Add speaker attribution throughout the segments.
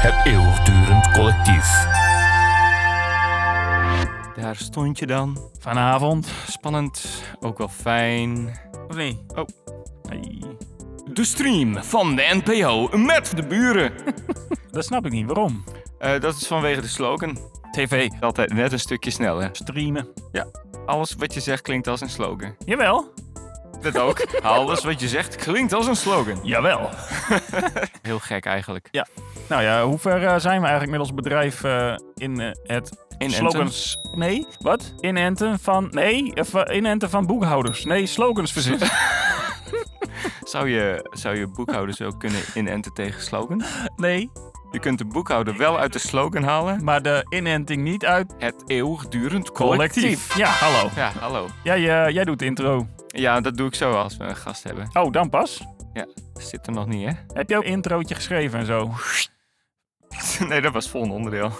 Speaker 1: Het eeuwigdurend collectief.
Speaker 2: Daar stond je dan.
Speaker 3: Vanavond.
Speaker 2: Spannend, ook wel fijn.
Speaker 3: Of nee?
Speaker 2: Oh.
Speaker 3: Ai.
Speaker 2: De stream van de NPO met de buren.
Speaker 3: Dat snap ik niet. Waarom?
Speaker 2: Eh, dat is vanwege de slogan.
Speaker 3: TV.
Speaker 2: Altijd net een stukje sneller.
Speaker 3: Streamen.
Speaker 2: Alles wat je zegt klinkt als een slogan.
Speaker 3: Jawel.
Speaker 2: Dat ook. Alles wat je zegt klinkt als een slogan.
Speaker 3: Jawel.
Speaker 2: Heel gek eigenlijk.
Speaker 3: Nou ja, hoe ver eh, zijn we eigenlijk met ons bedrijf eh, in eh, het
Speaker 2: In Anthem.
Speaker 3: slogans... Nee, wat? Inenten van... Nee, eh, va- inenten van boekhouders. Nee, slogans verzinnen.
Speaker 2: Zou je, zou je boekhouders ook kunnen inenten tegen slogan?
Speaker 3: nee,
Speaker 2: Je kunt de boekhouder wel uit de slogan halen.
Speaker 3: maar de inenting niet uit...
Speaker 2: Het eeuwigdurend collectief.
Speaker 3: Ja, hallo.
Speaker 2: Ja, hallo.
Speaker 3: Jij, eh, jij doet de intro.
Speaker 2: Ja, dat doe ik zo als we een gast hebben.
Speaker 3: Oh, dan pas.
Speaker 2: Zit er nog niet, hè?
Speaker 3: Heb je ook een introotje geschreven en zo?
Speaker 2: Nee, dat was volgende onderdeel.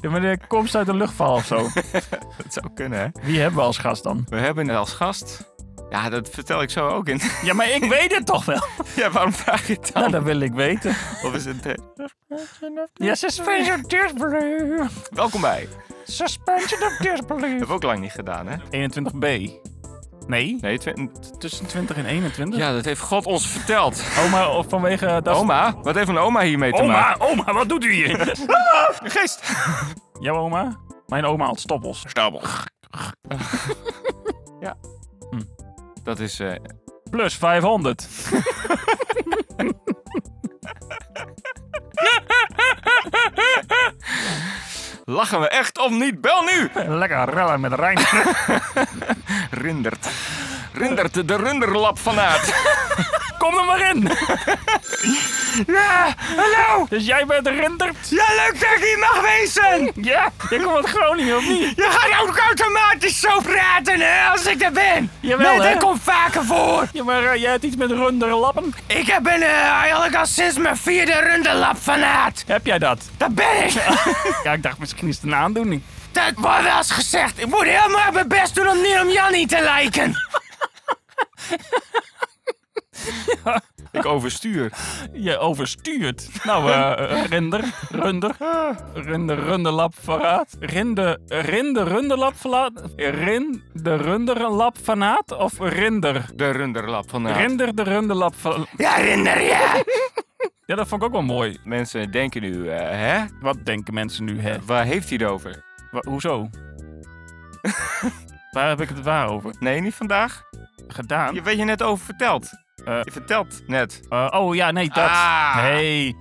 Speaker 3: Ja, maar de komst uit de luchtval of zo.
Speaker 2: Dat zou kunnen, hè?
Speaker 3: Wie hebben we als gast dan?
Speaker 2: We hebben als gast... Ja, dat vertel ik zo ook in.
Speaker 3: Ja, maar ik weet het toch wel.
Speaker 2: Ja, waarom vraag je het dan?
Speaker 3: Nou, dat wil ik weten.
Speaker 2: Of is het... eh,
Speaker 3: Ja, suspension of disbelief.
Speaker 2: Welkom bij.
Speaker 3: Suspension of disbelief.
Speaker 2: Hebben we ook lang niet gedaan, hè?
Speaker 3: 21b. Nee,
Speaker 2: Nee, twi-
Speaker 3: tussen 20 en 21.
Speaker 2: Ja, dat heeft God ons verteld.
Speaker 3: Oma, of vanwege dat...
Speaker 2: Oma? Wat heeft een oma hiermee te maken?
Speaker 3: oma, oma, wat doet u hier?
Speaker 2: Een geest.
Speaker 3: Jouw oma? Mijn oma had stoppels.
Speaker 2: Stabel. ja.
Speaker 3: Hm.
Speaker 2: Dat is... eh,
Speaker 3: Plus 500.
Speaker 2: lachen we echt of niet? Bel nu!
Speaker 3: Lekker rellen met Rijn.
Speaker 2: Rindert. Rindert, de runderlap van Aad.
Speaker 3: Kom er maar in.
Speaker 2: Ja, hallo!
Speaker 3: Dus jij bent Rindert?
Speaker 2: Ja, leuk dat ik hier mag wezen!
Speaker 3: Ja, je komt uit Groningen, of niet?
Speaker 2: Je gaat ook automatisch zo praten, hè, als ik er ben!
Speaker 3: Jawel,
Speaker 2: Nee,
Speaker 3: hè?
Speaker 2: dat komt vaker voor!
Speaker 3: Ja, maar eh, jij hebt iets met runderlappen.
Speaker 2: Ik heb een, eh, eigenlijk al sinds mijn vierde runderlap van Aad.
Speaker 3: Heb jij dat?
Speaker 2: Dat ben ik!
Speaker 3: Ja, ik dacht misschien is het een aandoening.
Speaker 2: Dat wordt wel eens gezegd. Ik moet heel maar mijn best doen om niet om Jannie te lijken. Ik overstuur.
Speaker 3: Je overstuurt. Nou, eh rinder, runder, rinder, runderlap verraad. Rinde, rinde, runderlap verlaat. Rin, de runderlap vernaat of rinder?
Speaker 2: De runderlap van
Speaker 3: Rinder, de runderlap verlaat.
Speaker 2: Ja, rinder, ja.
Speaker 3: Ja, dat vond ik ook wel mooi.
Speaker 2: Mensen denken nu, eh, hè?
Speaker 3: Wat denken mensen nu, hè?
Speaker 2: Waar heeft hij het over?
Speaker 3: Wa- hoezo? Waar heb ik het waar over?
Speaker 2: Nee, niet vandaag.
Speaker 3: Gedaan?
Speaker 2: Je weet je net over verteld.
Speaker 3: Eh.
Speaker 2: je vertelt net.
Speaker 3: Eh, oh ja, nee, dat.
Speaker 2: Ah.
Speaker 3: Hey.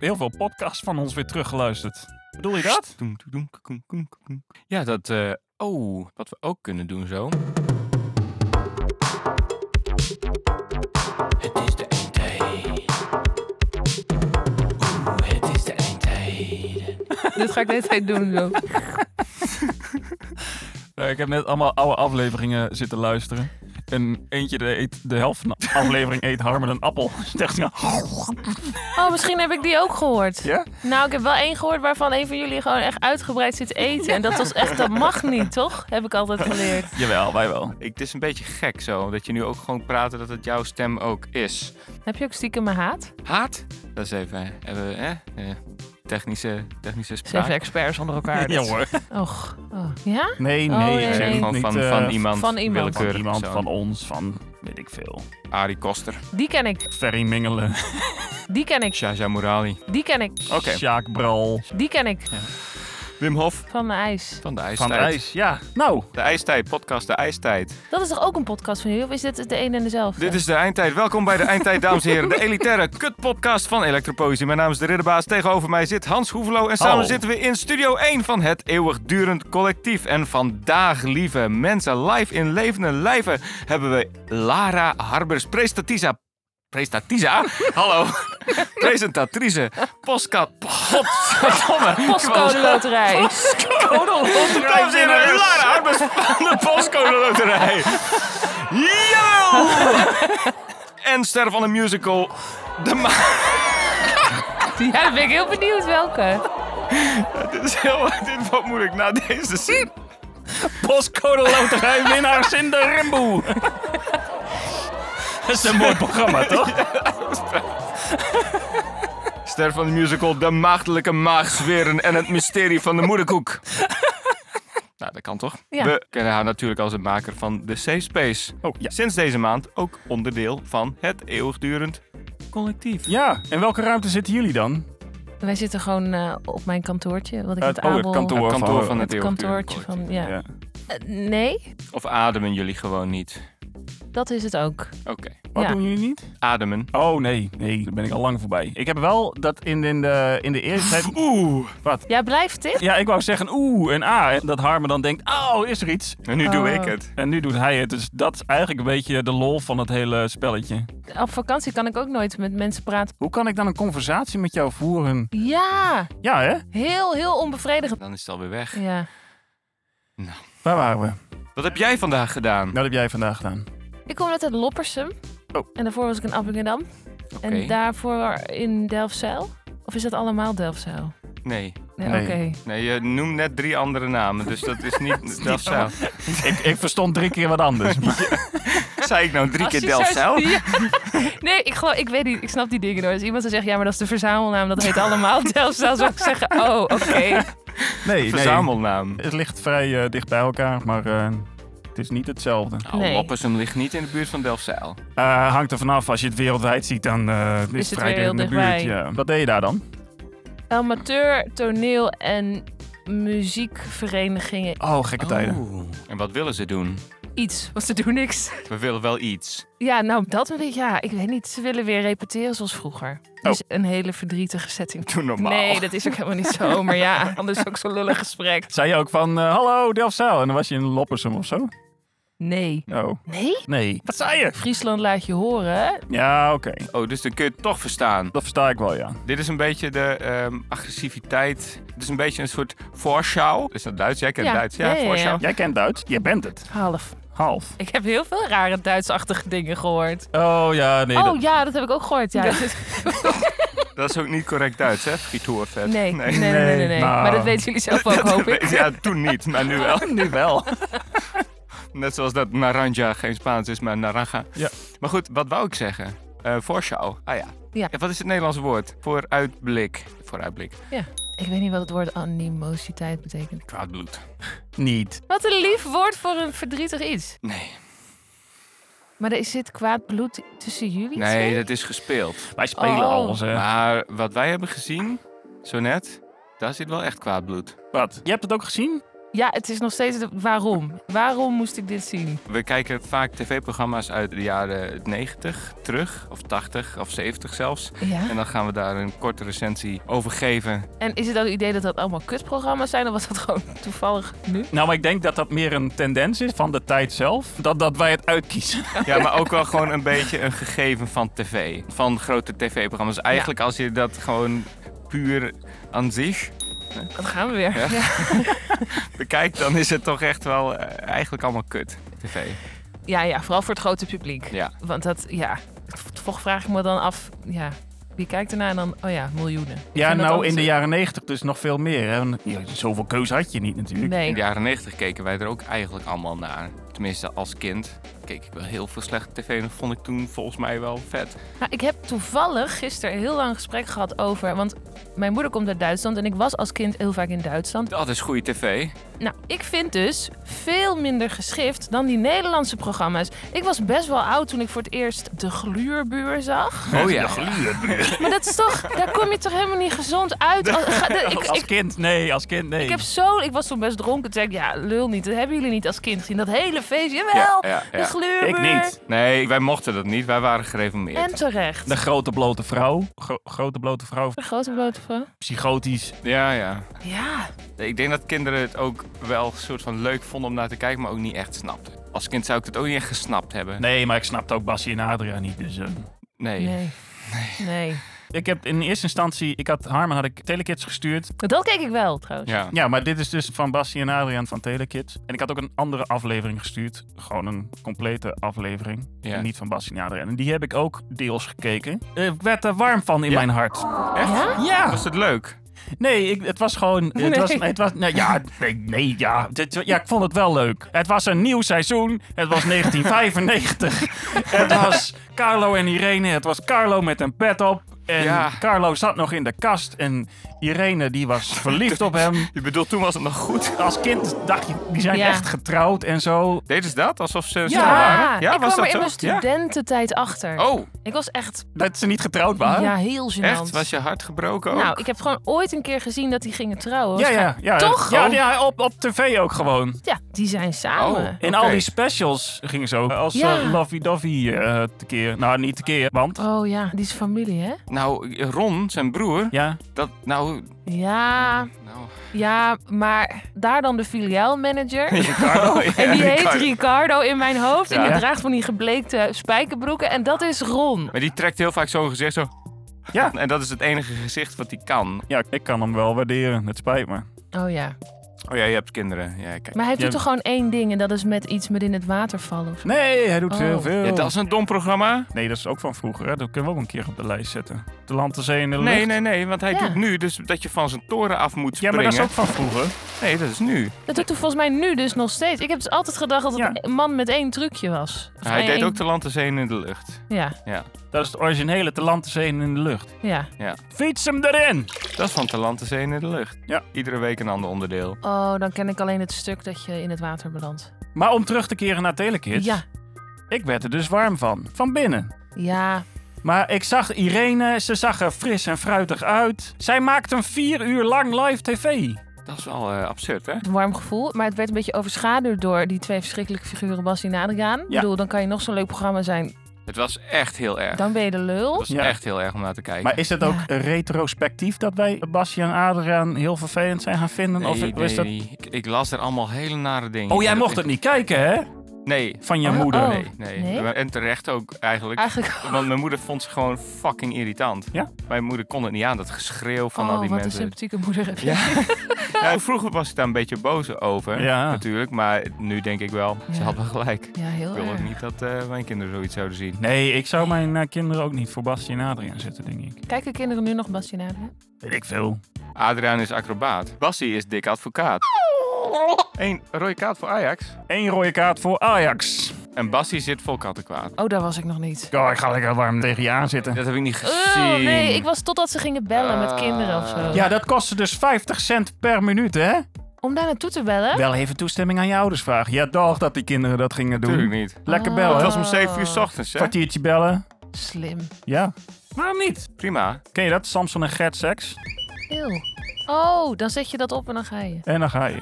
Speaker 3: Heel veel podcasts van ons weer teruggeluisterd. Bedoel je dat?
Speaker 2: Ja, dat... eh, oh, wat we ook kunnen doen zo.
Speaker 4: Het is de eindtijd. Oeh, het is de eindtijd.
Speaker 5: Dit ga ik de hele tijd doen. Zo.
Speaker 3: Nou, ik heb net allemaal oude afleveringen zitten luisteren. En eentje de, eet, de helft van de aflevering eet harmer een appel. Dus dacht ik, nou,
Speaker 5: Oh, misschien heb ik die ook gehoord.
Speaker 3: Ja?
Speaker 5: Nou, ik heb wel één gehoord waarvan een van jullie gewoon echt uitgebreid zit eten. En dat was echt, dat mag niet, toch? Heb ik altijd geleerd.
Speaker 3: Jawel, wij wel.
Speaker 2: Ik, het is een beetje gek zo, dat je nu ook gewoon praat dat het jouw stem ook is.
Speaker 5: Heb je ook stiekem mijn haat?
Speaker 2: Haat? Dat is even, eh, hebben we, hè? eh, technische, technische
Speaker 5: Het
Speaker 2: spraak.
Speaker 5: zijn even experts onder elkaar. dit.
Speaker 3: Ja hoor.
Speaker 5: Och. oh. Ja?
Speaker 3: Nee, nee.
Speaker 5: Oh, nee,
Speaker 3: ik
Speaker 2: Ik
Speaker 3: zeg
Speaker 2: zeg
Speaker 5: nee.
Speaker 2: gewoon
Speaker 3: niet,
Speaker 2: van,
Speaker 3: eh,
Speaker 2: van iemand,
Speaker 5: van
Speaker 3: van
Speaker 5: iemand.
Speaker 2: willekeurig
Speaker 3: iemand,
Speaker 2: persoon.
Speaker 3: van ons, van weet ik veel.
Speaker 2: Arie Koster,
Speaker 5: Die ken ik.
Speaker 3: Ferry Mingelen,
Speaker 5: Die ken ik.
Speaker 2: Shaja Morali.
Speaker 5: Die ken ik.
Speaker 2: Oké,
Speaker 3: Sjaak Bral,
Speaker 5: Die ken ik.
Speaker 2: Wim Hof
Speaker 5: Van de ijs.
Speaker 2: van de
Speaker 3: Van
Speaker 2: IJstijd.
Speaker 3: de IJs. Ja, nou.
Speaker 2: De IJstijd, podcast De IJstijd.
Speaker 5: Dat is toch ook een podcast van jullie? Of is dit de een en dezelfde?
Speaker 2: Dit is de Eindtijd. Welkom bij de Eindtijd, dames en heren. De elitaire kutpodcast van Elektropoëzie. Mijn naam is de Ridderbaas. Tegenover mij zit Hans Hoevelo. En samen
Speaker 3: Hallo.
Speaker 2: zitten we in Studio 1 van het eeuwigdurend collectief. En vandaag, lieve mensen, live in levende lijven hebben we Lara Harbers, prestatisa... Prestatisa? Hallo. Presentatrice. Postkat... Godverdomme.
Speaker 5: Postcode Loterij.
Speaker 2: Dames en heren, Lara Harbers van de Postcode Loterij. Jawel! En ster van een musical. De ma-
Speaker 5: Ja, dan ben ik heel benieuwd welke.
Speaker 2: dit is heel... Dit wordt moeilijk na deze zin.
Speaker 3: Postcode Loterij winnaars in de Rimboe. is een mooi programma, toch?
Speaker 2: Ster van de musical De Maagdelijke Maagzweren en het mysterie van de moederkoek. nou, dat kan toch?
Speaker 5: Ja.
Speaker 2: We kennen haar natuurlijk als de maker van de Safe Space.
Speaker 3: Oh, ja.
Speaker 2: Sinds deze maand ook onderdeel van het eeuwigdurend collectief.
Speaker 3: Ja, in welke ruimte zitten jullie dan?
Speaker 5: Wij zitten gewoon eh, op mijn kantoortje. Wat ik
Speaker 3: Het-
Speaker 5: met
Speaker 3: oh, het
Speaker 5: Abel...
Speaker 3: kantoor.
Speaker 2: Het kantoor
Speaker 3: van-
Speaker 2: van het,
Speaker 5: Het
Speaker 2: eeuwigdurend
Speaker 5: kantoortje van...
Speaker 2: collectief.
Speaker 5: Ja.
Speaker 3: Ja.
Speaker 5: Eh, nee,
Speaker 2: Of ademen jullie gewoon niet?
Speaker 5: dat is het ook.
Speaker 2: Oké.
Speaker 3: Wat
Speaker 5: Ja.
Speaker 3: doen jullie niet?
Speaker 2: Ademen.
Speaker 3: Oh nee, nee, daar ben ik al lang voorbij. Ik heb wel dat in, in, de, in de eerste tijd.
Speaker 2: Oeh.
Speaker 5: Ja, blijft dit?
Speaker 3: Ja, ik wou zeggen oeh en ah. En dat Harmen dan denkt, oh, is er iets?
Speaker 2: En nu doe
Speaker 5: Oh.
Speaker 2: ik het.
Speaker 3: En nu doet hij het. Dus dat is eigenlijk een beetje de lol van het hele spelletje.
Speaker 5: Op vakantie kan ik ook nooit met mensen praten.
Speaker 3: Hoe kan ik dan een conversatie met jou voeren?
Speaker 5: Ja,
Speaker 3: Ja, hè?
Speaker 5: heel, heel onbevredigend.
Speaker 2: Dan is het alweer weg.
Speaker 5: Ja.
Speaker 3: Waar waren we?
Speaker 2: Wat heb jij vandaag gedaan?
Speaker 3: Dat heb jij vandaag gedaan.
Speaker 5: Ik kom net uit Loppersum.
Speaker 3: Oh.
Speaker 5: En daarvoor was ik in Appingedam. En
Speaker 2: Oké.
Speaker 5: daarvoor in Delfzijl. Of is dat allemaal Delfzijl?
Speaker 2: Nee.
Speaker 5: Nee,
Speaker 3: Nee.
Speaker 5: oké.
Speaker 2: Nee, je noemt net drie andere namen, dus dat is niet Delfzijl.
Speaker 3: ik, ik verstond drie keer wat anders.
Speaker 2: Zei ik nou drie
Speaker 5: Als
Speaker 2: keer
Speaker 5: je zou-
Speaker 2: Delfzijl?
Speaker 5: Ja. Nee, ik, geloof, ik weet niet. Ik snap die dingen nooit. Als iemand dan zegt, ja, maar dat is de verzamelnaam. Dat heet allemaal Delfzijl. Zou ik zeggen, oh, oké.
Speaker 3: Nee,
Speaker 2: Verzamelnaam.
Speaker 3: Het ligt vrij eh, dicht bij elkaar, maar eh, het is niet hetzelfde.
Speaker 2: Nou,
Speaker 5: Nee.
Speaker 2: Loppersum ligt niet in de buurt van Delfzijl.
Speaker 3: Eh, hangt er vanaf, als je het wereldwijd ziet, dan eh, is,
Speaker 5: het
Speaker 3: het vrij
Speaker 5: weer
Speaker 3: dicht in de
Speaker 5: heel
Speaker 3: buurt.
Speaker 5: dichtbij.
Speaker 3: ja. Wat deed je daar dan?
Speaker 5: Amateur, toneel en muziekverenigingen.
Speaker 3: Oh, gekke tijden.
Speaker 2: En wat willen ze doen?
Speaker 5: Iets, want ze doen niks.
Speaker 2: We willen wel iets.
Speaker 5: Ja, nou, dat weet ik. Ja, ik weet niet. Ze willen weer repeteren zoals vroeger. Dus een hele verdrietige setting.
Speaker 2: Doe normaal.
Speaker 5: Nee, dat is ook helemaal niet zo. Maar ja, anders ook zo'n lullig gesprek.
Speaker 3: Zei je ook van, eh, hallo Delfzijl, en dan was je in Loppersum of zo?
Speaker 5: Nee.
Speaker 3: Oh,
Speaker 5: Nee?
Speaker 3: nee. Wat zei je?
Speaker 5: Friesland laat je horen, hè?
Speaker 3: Ja, oké.
Speaker 2: Oh, dus dan kun je het toch verstaan.
Speaker 3: Dat versta ik wel, ja.
Speaker 2: Dit is een beetje de ehm, agressiviteit. Het is een beetje een soort voorschouw. Is dat Duits? Jij kent
Speaker 5: Ja.
Speaker 2: Duits,
Speaker 5: Ja,
Speaker 2: ja?
Speaker 5: ja, ja.
Speaker 2: Voorschouw.
Speaker 3: Jij kent Duits, jij bent het.
Speaker 5: Half.
Speaker 3: Half.
Speaker 5: Ik heb heel veel rare Duitsachtige dingen gehoord.
Speaker 3: Oh ja, nee.
Speaker 5: oh ja, dat heb ik ook gehoord. Ja. Dus-
Speaker 2: Dat is ook niet correct Duits, hè? Frituurvet.
Speaker 5: Nee, nee, nee, nee. nee, nee.
Speaker 3: Nee, nou.
Speaker 5: Maar dat weten jullie zelf ook, hoop ik.
Speaker 2: Ja, toen niet, maar nu wel.
Speaker 3: nu wel.
Speaker 2: Net zoals dat naranja geen Spaans is, maar naranja.
Speaker 3: Ja.
Speaker 2: Maar goed, wat wou ik zeggen? Eh voorschouw. Ah ja.
Speaker 5: Ja.
Speaker 2: Wat is het Nederlandse woord? Vooruitblik. Vooruitblik.
Speaker 5: Ik weet niet wat het woord animositeit betekent.
Speaker 2: Kwaad bloed.
Speaker 3: Niet.
Speaker 5: Wat een lief woord voor een verdrietig iets.
Speaker 2: Nee.
Speaker 5: Maar er zit kwaad bloed tussen jullie
Speaker 2: Nee, dat is gespeeld.
Speaker 3: Wij spelen
Speaker 5: Oh.
Speaker 3: alles, hè.
Speaker 2: Maar wat wij hebben gezien, zo net, daar zit wel echt kwaad bloed.
Speaker 3: Wat? Je hebt het ook gezien?
Speaker 5: Ja, het is nog steeds... de- Waarom? Waarom moest ik dit zien?
Speaker 2: We kijken vaak tv-programma's uit de jaren 90 terug, of 80 of 70 zelfs.
Speaker 5: Ja.
Speaker 2: En dan gaan we daar een korte recensie over geven.
Speaker 5: En is het ook het idee dat dat allemaal kutprogramma's zijn? Of was dat gewoon toevallig nu?
Speaker 3: Nou, maar ik denk dat dat meer een tendens is van de tijd zelf. Dat, dat wij het uitkiezen.
Speaker 2: Ja, maar ook wel gewoon een beetje een gegeven van tv. Van grote tv-programma's. Eigenlijk als je dat gewoon puur aan zich
Speaker 5: Dan gaan we weer.
Speaker 2: Ja. bekijkt, dan is het toch echt wel eh, eigenlijk allemaal kut. TV.
Speaker 5: Ja, ja, vooral voor het grote publiek.
Speaker 2: Ja.
Speaker 5: Want dat, ja, toch vraag ik me dan af, ja, wie kijkt ernaar en dan, oh ja, miljoenen.
Speaker 3: Ja,
Speaker 5: vind dat
Speaker 3: nou
Speaker 5: ook
Speaker 3: in de
Speaker 5: zo.
Speaker 3: jaren negentig dus nog veel meer. Hè? Want, ja, Zoveel keuze had je niet natuurlijk.
Speaker 5: Nee.
Speaker 2: In de jaren 90 keken wij er ook eigenlijk allemaal naar. Tenminste, als kind keek ik wel heel veel slechte tv. En dat vond ik toen volgens mij wel vet.
Speaker 5: Nou, ik heb toevallig gisteren een heel lang gesprek gehad over, want mijn moeder komt uit Duitsland en ik was als kind heel vaak in Duitsland.
Speaker 2: Dat is goede tv.
Speaker 5: Nou, ik vind dus veel minder geschift dan die Nederlandse programma's. Ik was best wel oud toen ik voor het eerst De Gluurbuur zag.
Speaker 2: Oh ja.
Speaker 5: Maar dat is toch, daar kom je toch helemaal niet gezond uit. Als- ga- de- ik,
Speaker 3: Als
Speaker 5: ik,
Speaker 3: kind, nee, als kind, nee.
Speaker 5: ik heb zo, ik was toen best dronken. Toen zei ik, ja, lul niet. Dat hebben jullie niet als kind gezien. Dat hele feestje,
Speaker 2: Ja,
Speaker 5: jawel.
Speaker 2: ja,
Speaker 5: De
Speaker 2: ja.
Speaker 5: Gluurbuur.
Speaker 3: Ik niet.
Speaker 2: Nee, wij mochten dat niet. Wij waren gereformeerd.
Speaker 5: En terecht.
Speaker 3: De grote blote vrouw. Gro- grote blote vrouw.
Speaker 5: De grote blote vrouw?
Speaker 3: Psychotisch.
Speaker 2: Ja, ja.
Speaker 5: Ja.
Speaker 2: Ik denk dat kinderen het ook wel een soort van leuk vonden om naar te kijken, maar ook niet echt snapten. Als kind zou ik het ook niet echt gesnapt hebben.
Speaker 3: Nee, maar ik snapte ook Bassie en Adria niet. Dus, eh.
Speaker 2: Nee.
Speaker 5: Nee. Nee.
Speaker 3: Ik heb in eerste instantie, ik had Harmen had ik Telekids gestuurd.
Speaker 5: Dat keek ik wel trouwens.
Speaker 2: Ja.
Speaker 3: Ja, maar dit is dus van Bassie en Adriaan van Telekids. En ik had ook een andere aflevering gestuurd. Gewoon een complete aflevering.
Speaker 2: Ja.
Speaker 3: En niet van Bassie en Adriaan. En die Eh, heb ik ook deels gekeken. Ik werd er warm van in mijn hart.
Speaker 2: Echt?
Speaker 5: Ja?
Speaker 3: Ja!
Speaker 2: Was het leuk?
Speaker 3: Nee, ik, het was gewoon. Het
Speaker 5: Nee.
Speaker 3: was, het was, nou, ja, nee, nee ja. Het- ja. Ik vond het wel leuk. Het was een nieuw seizoen. Het was 1995. het was Carlo en Irene. Het was Carlo met een pet op. En
Speaker 2: Ja.
Speaker 3: Carlo zat nog in de kast. En Irene die was verliefd op hem.
Speaker 2: Je bedoelt, toen was het nog goed.
Speaker 3: Als kind dacht je, die zijn
Speaker 5: Ja.
Speaker 3: echt getrouwd en zo.
Speaker 2: Deden ze dat? Alsof ze samen
Speaker 5: Ja,
Speaker 2: waren? Ja,
Speaker 5: ik
Speaker 2: was
Speaker 5: kwam er
Speaker 2: dat
Speaker 5: in
Speaker 2: zo?
Speaker 5: mijn
Speaker 2: Ja.
Speaker 5: studententijd achter.
Speaker 2: Oh,
Speaker 5: Ik was echt
Speaker 3: Dat ze niet getrouwd waren.
Speaker 5: ja, heel gênant.
Speaker 2: echt? Was je hart gebroken ook?
Speaker 5: Nou, ik heb gewoon ooit een keer gezien dat die gingen trouwen.
Speaker 3: Ja, ja, ja.
Speaker 5: Toch? Oh.
Speaker 3: Ja, ja, op, op tv ook gewoon.
Speaker 5: Ja, die zijn samen.
Speaker 3: In
Speaker 2: Oké.
Speaker 3: al die specials gingen ze ook als
Speaker 5: Ja.
Speaker 3: eh, Lovey Dovey eh, tekeer. Nou, niet tekeer, want...
Speaker 5: Oh. ja, die is familie, hè?
Speaker 2: Nou, Ron, zijn broer,
Speaker 3: Ja,
Speaker 2: dat, nou,
Speaker 5: Ja,
Speaker 2: nou...
Speaker 5: ja, maar daar dan de filiaalmanager.
Speaker 2: Ricardo, ja,
Speaker 5: En die heet
Speaker 2: Ricardo.
Speaker 5: Ricardo in mijn hoofd. En
Speaker 3: Ja.
Speaker 5: die draagt van die gebleekte spijkerbroeken. En dat is Ron.
Speaker 2: Maar die trekt heel vaak zo'n gezicht zo.
Speaker 3: Ja.
Speaker 2: En dat is het enige gezicht wat hij kan.
Speaker 3: ja, ik kan hem wel waarderen. Het spijt me.
Speaker 5: Oh ja.
Speaker 2: Oh ja, je hebt kinderen. Ja, kijk.
Speaker 5: Maar hij doet
Speaker 3: Ja.
Speaker 5: toch gewoon één ding. En dat is met iets met in het water vallen. of zo?
Speaker 3: Nee, hij doet
Speaker 5: Oh.
Speaker 3: heel veel.
Speaker 2: Ja, dat is een dom programma.
Speaker 3: Nee, dat is ook van vroeger. Hè? Dat kunnen we ook een keer op de lijst zetten. De land, de zee en de lucht.
Speaker 2: Nee, nee, nee, want hij
Speaker 5: Ja.
Speaker 2: doet nu dus dat je van zijn toren af moet
Speaker 3: Ja,
Speaker 2: springen.
Speaker 3: maar dat is ook van vroeger.
Speaker 2: Nee, dat is nu.
Speaker 5: Dat doet hij volgens mij nu dus nog steeds. Ik heb dus altijd gedacht dat het
Speaker 3: Ja.
Speaker 5: een man met één trucje was. Of
Speaker 2: Hij
Speaker 5: één-
Speaker 2: deed ook de land, de zee en in de lucht.
Speaker 5: Ja,
Speaker 3: Dat is het originele te land, de zee en in de lucht.
Speaker 5: ja.
Speaker 3: Fiets hem erin!
Speaker 2: Dat is van de land, de zee en in de lucht.
Speaker 3: Ja.
Speaker 2: Iedere week een ander onderdeel.
Speaker 5: Oh, dan ken ik alleen het stuk dat je in het water belandt.
Speaker 3: Maar om terug te keren naar Telekids.
Speaker 5: Ja,
Speaker 3: Ik werd er dus warm van. Van binnen.
Speaker 5: ja.
Speaker 3: Maar ik zag Irene, ze zag er fris en fruitig uit. Zij maakte een vier uur lang live tv.
Speaker 2: Dat is wel eh, absurd, hè?
Speaker 5: Een warm gevoel. Maar het werd een beetje overschaduwd door die twee verschrikkelijke figuren Bas en Adriaan. Ik bedoel, dan kan je nog zo'n leuk programma zijn.
Speaker 2: Het was echt heel erg.
Speaker 5: Dan ben je de lul.
Speaker 2: Dat was
Speaker 3: Ja.
Speaker 2: echt heel erg om naar te kijken.
Speaker 3: Maar is het ook retrospectief dat wij Basje en Adriaan heel vervelend zijn gaan vinden?
Speaker 2: Nee,
Speaker 3: of
Speaker 2: nee,
Speaker 3: is dat...
Speaker 2: ik, ik las er allemaal hele nare dingen.
Speaker 3: Oh, jij
Speaker 2: En
Speaker 3: mocht
Speaker 2: dat-
Speaker 3: het niet kijken, hè?
Speaker 2: Nee.
Speaker 3: Van je
Speaker 5: Oh,
Speaker 3: moeder.
Speaker 5: oh.
Speaker 2: Nee, nee,
Speaker 5: Nee? Ah.
Speaker 2: En terecht ook eigenlijk.
Speaker 5: Eigenlijk.
Speaker 2: Want mijn moeder vond ze gewoon fucking irritant.
Speaker 3: Ja?
Speaker 2: Mijn moeder kon het niet aan, dat geschreeuw van
Speaker 5: oh,
Speaker 2: al die
Speaker 5: wat een
Speaker 2: mensen.
Speaker 5: sympathieke moeder heb je.
Speaker 2: Ja. Ja, vroeger was ik daar een beetje boos over,
Speaker 3: Ja.
Speaker 2: natuurlijk. Maar nu denk ik wel, ze
Speaker 5: Ah. Ja. Ah.
Speaker 2: had wel gelijk. Ik
Speaker 5: Ja, heel
Speaker 2: wil ook
Speaker 5: erg.
Speaker 2: niet dat eh, mijn kinderen zoiets zouden zien.
Speaker 3: Nee, ik zou mijn eh, kinderen ook niet voor Basje en Adriaan zetten, denk ik.
Speaker 5: Kijken kinderen nu nog Bas en Adriaan?
Speaker 3: Weet ik veel.
Speaker 2: Adriaan is acrobaat. Bassie is dik advocaat. Eén rode kaart voor Ajax.
Speaker 3: Eén rode kaart voor Ajax.
Speaker 2: En Bassie zit vol kattenkwaad.
Speaker 5: Oh, daar was ik nog niet.
Speaker 3: Oh, ik ga lekker warm tegen je aan zitten.
Speaker 2: Dat heb ik niet gezien.
Speaker 5: Ah. Oh, nee, ik was totdat ze gingen bellen
Speaker 2: Ah.
Speaker 5: met kinderen of zo.
Speaker 3: Ja, dat kostte dus 50 cent per minuut, hè?
Speaker 5: Om daar naartoe te bellen?
Speaker 3: Wel even toestemming aan je ouders vragen. Ja, dag dat die kinderen dat gingen doen.
Speaker 2: Natuurlijk niet.
Speaker 3: Lekker
Speaker 5: Oh.
Speaker 3: bellen.
Speaker 2: Het was om 7 uur 's ochtends, hè?
Speaker 3: Kwartiertje bellen.
Speaker 5: Slim.
Speaker 3: Ja. Waarom niet?
Speaker 2: Prima.
Speaker 3: Ken je dat? Samson en Gert seks.
Speaker 5: Eeuw. Oh, dan zet je dat op en dan ga je.
Speaker 3: En dan ga je.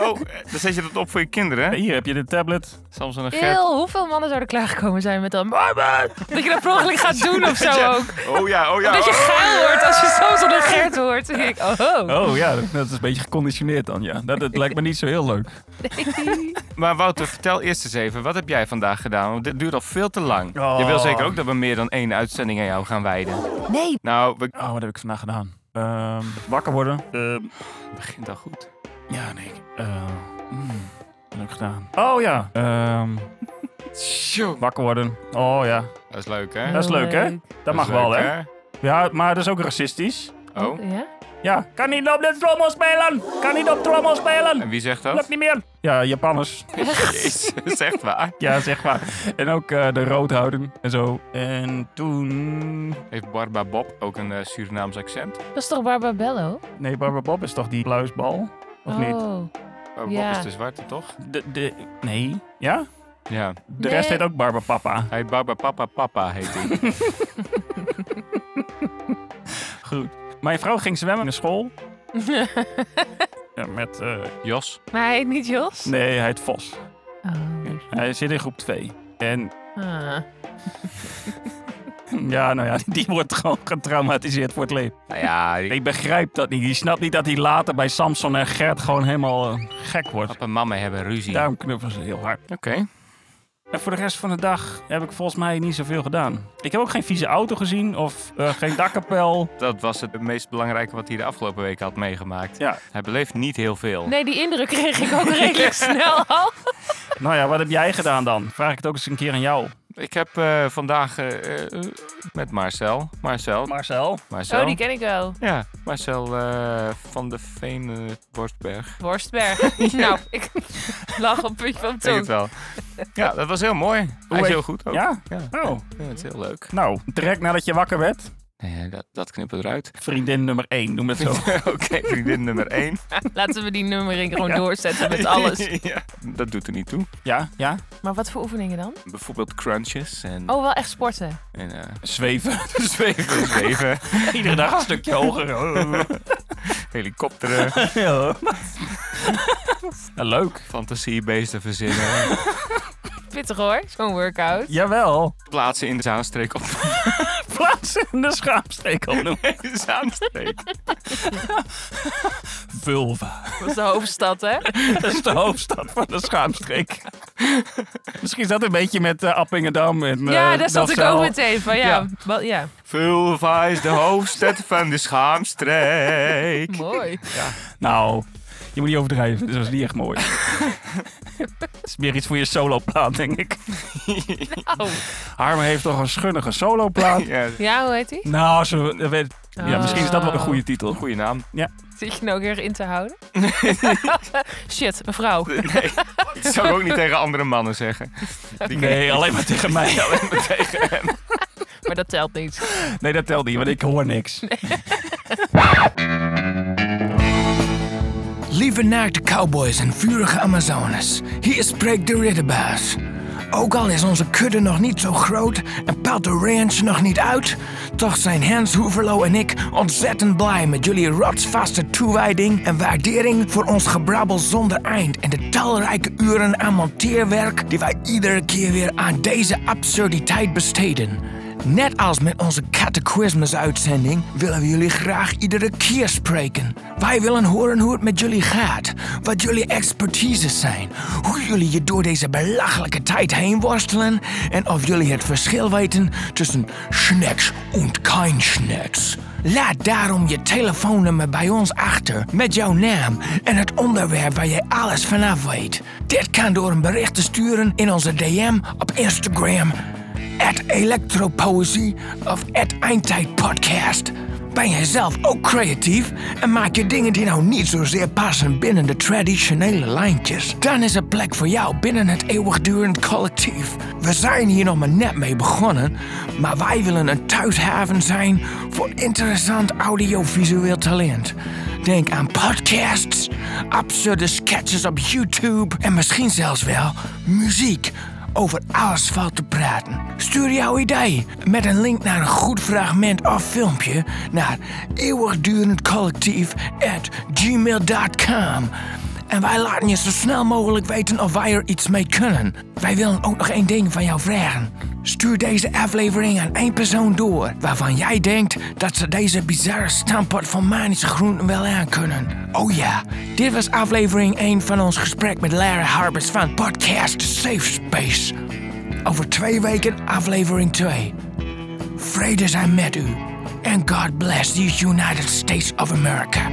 Speaker 2: Oh, eh, dan zet je dat op voor je kinderen, hè?
Speaker 3: Hier heb je de tablet.
Speaker 2: Soms een Gert.
Speaker 5: Eeuw, hoeveel mannen zouden klaargekomen zijn met dan... Dat je dat per ongeluk gaat doen of zo ook.
Speaker 2: Oh ja, oh ja.
Speaker 5: Dat je
Speaker 2: oh.
Speaker 5: geil wordt als je soms een Gert hoort. Dan denk ik, oh.
Speaker 3: Oh ja, dat- dat is een beetje geconditioneerd dan, ja. Dat, dat lijkt me niet zo heel leuk.
Speaker 2: Maar Wouter, vertel eerst eens even, wat heb jij vandaag gedaan? Want dit duurt al veel te lang.
Speaker 3: Oh.
Speaker 2: Je wil zeker ook dat we meer dan één uitzending aan jou gaan wijden.
Speaker 5: Nee.
Speaker 2: Nou, we
Speaker 3: Oh, wat heb ik vandaag gedaan? Ehm, wakker worden. Ehm,
Speaker 2: begint al goed.
Speaker 3: ja, nee. ik- eh, mm, wat heb ik gedaan? Oh ja. Ehm, wakker worden. Oh ja.
Speaker 2: Dat is leuk, hè?
Speaker 3: Dat is leuk, hè? Nou, Dat mag wel, hè? Ja, maar dat is ook racistisch.
Speaker 2: Oh,
Speaker 5: Ja?
Speaker 3: Ja. Kan niet op de trommel spelen! Kan niet op trommel spelen!
Speaker 2: en wie zegt
Speaker 3: Lukt
Speaker 2: dat?
Speaker 3: niet meer! Ja, Japanners.
Speaker 2: Jezus, echt waar.
Speaker 3: Ja, zeg maar. En ook eh, de roodhouden en zo. En toen...
Speaker 2: Heeft Barba Bob ook een eh, Surinaams accent?
Speaker 5: Dat is toch Barbabello?
Speaker 3: Nee, Barbara Bob is toch die pluisbal? Of niet?
Speaker 5: Oh.
Speaker 2: Barba
Speaker 5: Ja.
Speaker 2: Bob is de zwarte, toch?
Speaker 3: De, de, nee. Ja?
Speaker 2: Ja.
Speaker 3: De
Speaker 5: Nee.
Speaker 3: rest heet ook Barbapapa.
Speaker 2: Hij heet Barba Papa Papa, heet hij.
Speaker 3: Goed. Mijn vrouw ging zwemmen naar school. ja, met... eh,
Speaker 2: Jos?
Speaker 5: Maar hij heet niet Jos?
Speaker 3: nee, hij heet Vos.
Speaker 5: Oh.
Speaker 3: Hij zit in groep 2. En
Speaker 5: Ah.
Speaker 3: ja, nou ja, die wordt gewoon getraumatiseerd voor het leven.
Speaker 2: Nou ja, die-
Speaker 3: Ik begrijp dat niet. Die snapt niet dat hij later bij Samson en Gert gewoon helemaal eh, gek wordt.
Speaker 2: papa en mama hebben ruzie.
Speaker 3: Daarom knuffelen ze heel hard.
Speaker 2: Oké.
Speaker 3: En voor de rest van de dag heb ik volgens mij niet zoveel gedaan. Ik heb ook geen vieze auto gezien of eh, geen dakkapel.
Speaker 2: Dat was het meest belangrijke wat hij de afgelopen week had meegemaakt.
Speaker 3: Ja,
Speaker 2: Hij beleeft niet heel veel.
Speaker 5: Nee, die indruk kreeg ik ook redelijk snel al.
Speaker 3: nou ja, wat heb jij gedaan dan? Vraag ik het ook eens een keer aan jou.
Speaker 2: Ik heb eh, vandaag eh, eh, met Marcel. Marcel.
Speaker 3: Marcel.
Speaker 2: Marcel.
Speaker 5: Oh, die ken ik wel.
Speaker 2: Ja, Marcel eh, van de Veen eh, Borstberg.
Speaker 5: Worstberg. nou, ik lag op het puntje van
Speaker 2: Ik denk
Speaker 5: mijn
Speaker 2: het
Speaker 5: tong.
Speaker 2: wel. Ja, dat was heel mooi. Hij is
Speaker 3: heet-
Speaker 2: heel goed ook.
Speaker 3: Ja?
Speaker 2: Ja.
Speaker 3: Oh,
Speaker 2: Ja, het is heel leuk.
Speaker 3: nou, direct nadat je wakker werd.
Speaker 2: Nee, dat, dat knippen we eruit.
Speaker 3: Vriendin nummer 1, noem het zo.
Speaker 2: Oh, Oké, vriendin nummer 1.
Speaker 5: Laten we die nummering gewoon doorzetten met alles.
Speaker 2: ja, dat doet er niet toe.
Speaker 3: Ja, ja.
Speaker 5: Maar wat voor oefeningen dan?
Speaker 2: Bijvoorbeeld crunches en,
Speaker 5: Oh, wel echt sporten.
Speaker 2: en eh,
Speaker 3: Zweven.
Speaker 2: zweven, zweven,
Speaker 3: Iedere dag een stukje hoger. Oh.
Speaker 2: helikopteren,
Speaker 3: Ja. Nou, leuk.
Speaker 2: fantasiebeesten verzinnen,
Speaker 5: Pittig hoor, zo'n workout.
Speaker 3: Jawel.
Speaker 2: plaatsen in de zaanstreek op
Speaker 3: Plaatsen in de schaamsteek opnoemen.
Speaker 2: de zaanstreek.
Speaker 3: Vulva.
Speaker 5: Dat is de hoofdstad, hè?
Speaker 3: Dat is de hoofdstad van de schaamstreek. Misschien is dat een beetje met eh, Appingedam. En,
Speaker 5: ja,
Speaker 3: eh,
Speaker 5: daar zat ik
Speaker 3: Delfzijl.
Speaker 5: ook meteen van. Ja,
Speaker 3: Ja.
Speaker 5: Wel, ja.
Speaker 2: Vulva is de hoofdstad van de schaamstreek.
Speaker 5: mooi.
Speaker 3: Nou, je moet niet overdrijven. Dit was niet echt mooi. Het is meer iets voor je soloplaat, denk ik.
Speaker 5: Oh.
Speaker 3: Harm heeft toch een schunnige soloplaat?
Speaker 2: Ja,
Speaker 5: Ja, hoe heet die?
Speaker 3: nou, zo, dat weet, ja,
Speaker 5: Oh.
Speaker 3: misschien is dat wel een goede titel.
Speaker 2: goede naam.
Speaker 5: Zit je nou ook erg in te houden? Shit, een vrouw.
Speaker 2: Nee, dat zou ik ook niet tegen andere mannen zeggen. Die
Speaker 3: Nee, alleen maar tegen mij.
Speaker 5: Maar dat telt niet.
Speaker 3: Nee, dat telt niet, want ik hoor niks.
Speaker 4: Lieve naakte cowboys en vurige Amazones, hier spreekt de ridderbaas. Ook al is onze kudde nog niet zo groot en paalt de ranch nog niet uit, toch zijn Hans Hoeverlo en ik ontzettend blij met jullie rotsvaste toewijding en waardering voor ons gebrabbel zonder eind en de talrijke uren aan monteerwerk die wij iedere keer weer aan deze absurditeit besteden. Net als met onze Catechismus-uitzending willen we jullie graag iedere keer spreken. Wij willen horen hoe het met jullie gaat, wat jullie expertises zijn, hoe jullie je door deze belachelijke tijd heen worstelen en of jullie het verschil weten tussen snacks en kein snacks. Laat daarom je telefoonnummer bij ons achter met jouw naam en het onderwerp waar jij alles vanaf weet. Dit kan door een bericht te sturen in onze DM op Instagram at Electropoëzie of at Eindtijd Podcast. Ben jij zelf ook creatief en maak je dingen die nou niet zozeer passen binnen de traditionele lijntjes? Dan is er plek voor jou binnen het eeuwigdurend collectief. We zijn hier nog maar net mee begonnen, maar wij willen een thuishaven zijn voor interessant audiovisueel talent. Denk aan podcasts, absurde sketches op YouTube en misschien zelfs wel muziek over alles valt te praten. Stuur jouw idee met een link naar een goed fragment of filmpje naar eeuwigdurendcollectief@gmail.com. En wij laten je zo snel mogelijk weten of wij er iets mee kunnen. Wij willen ook nog één ding van jou vragen. Stuur deze aflevering aan één persoon door waarvan jij denkt dat ze deze bizarre stampot van manische groenten wel aankunnen. Oh ja, dit was aflevering 1 van ons gesprek met Larry Harbers van podcast Safe Space. Over twee weken aflevering 2. Vrede zijn met u. En God bless these United States of America.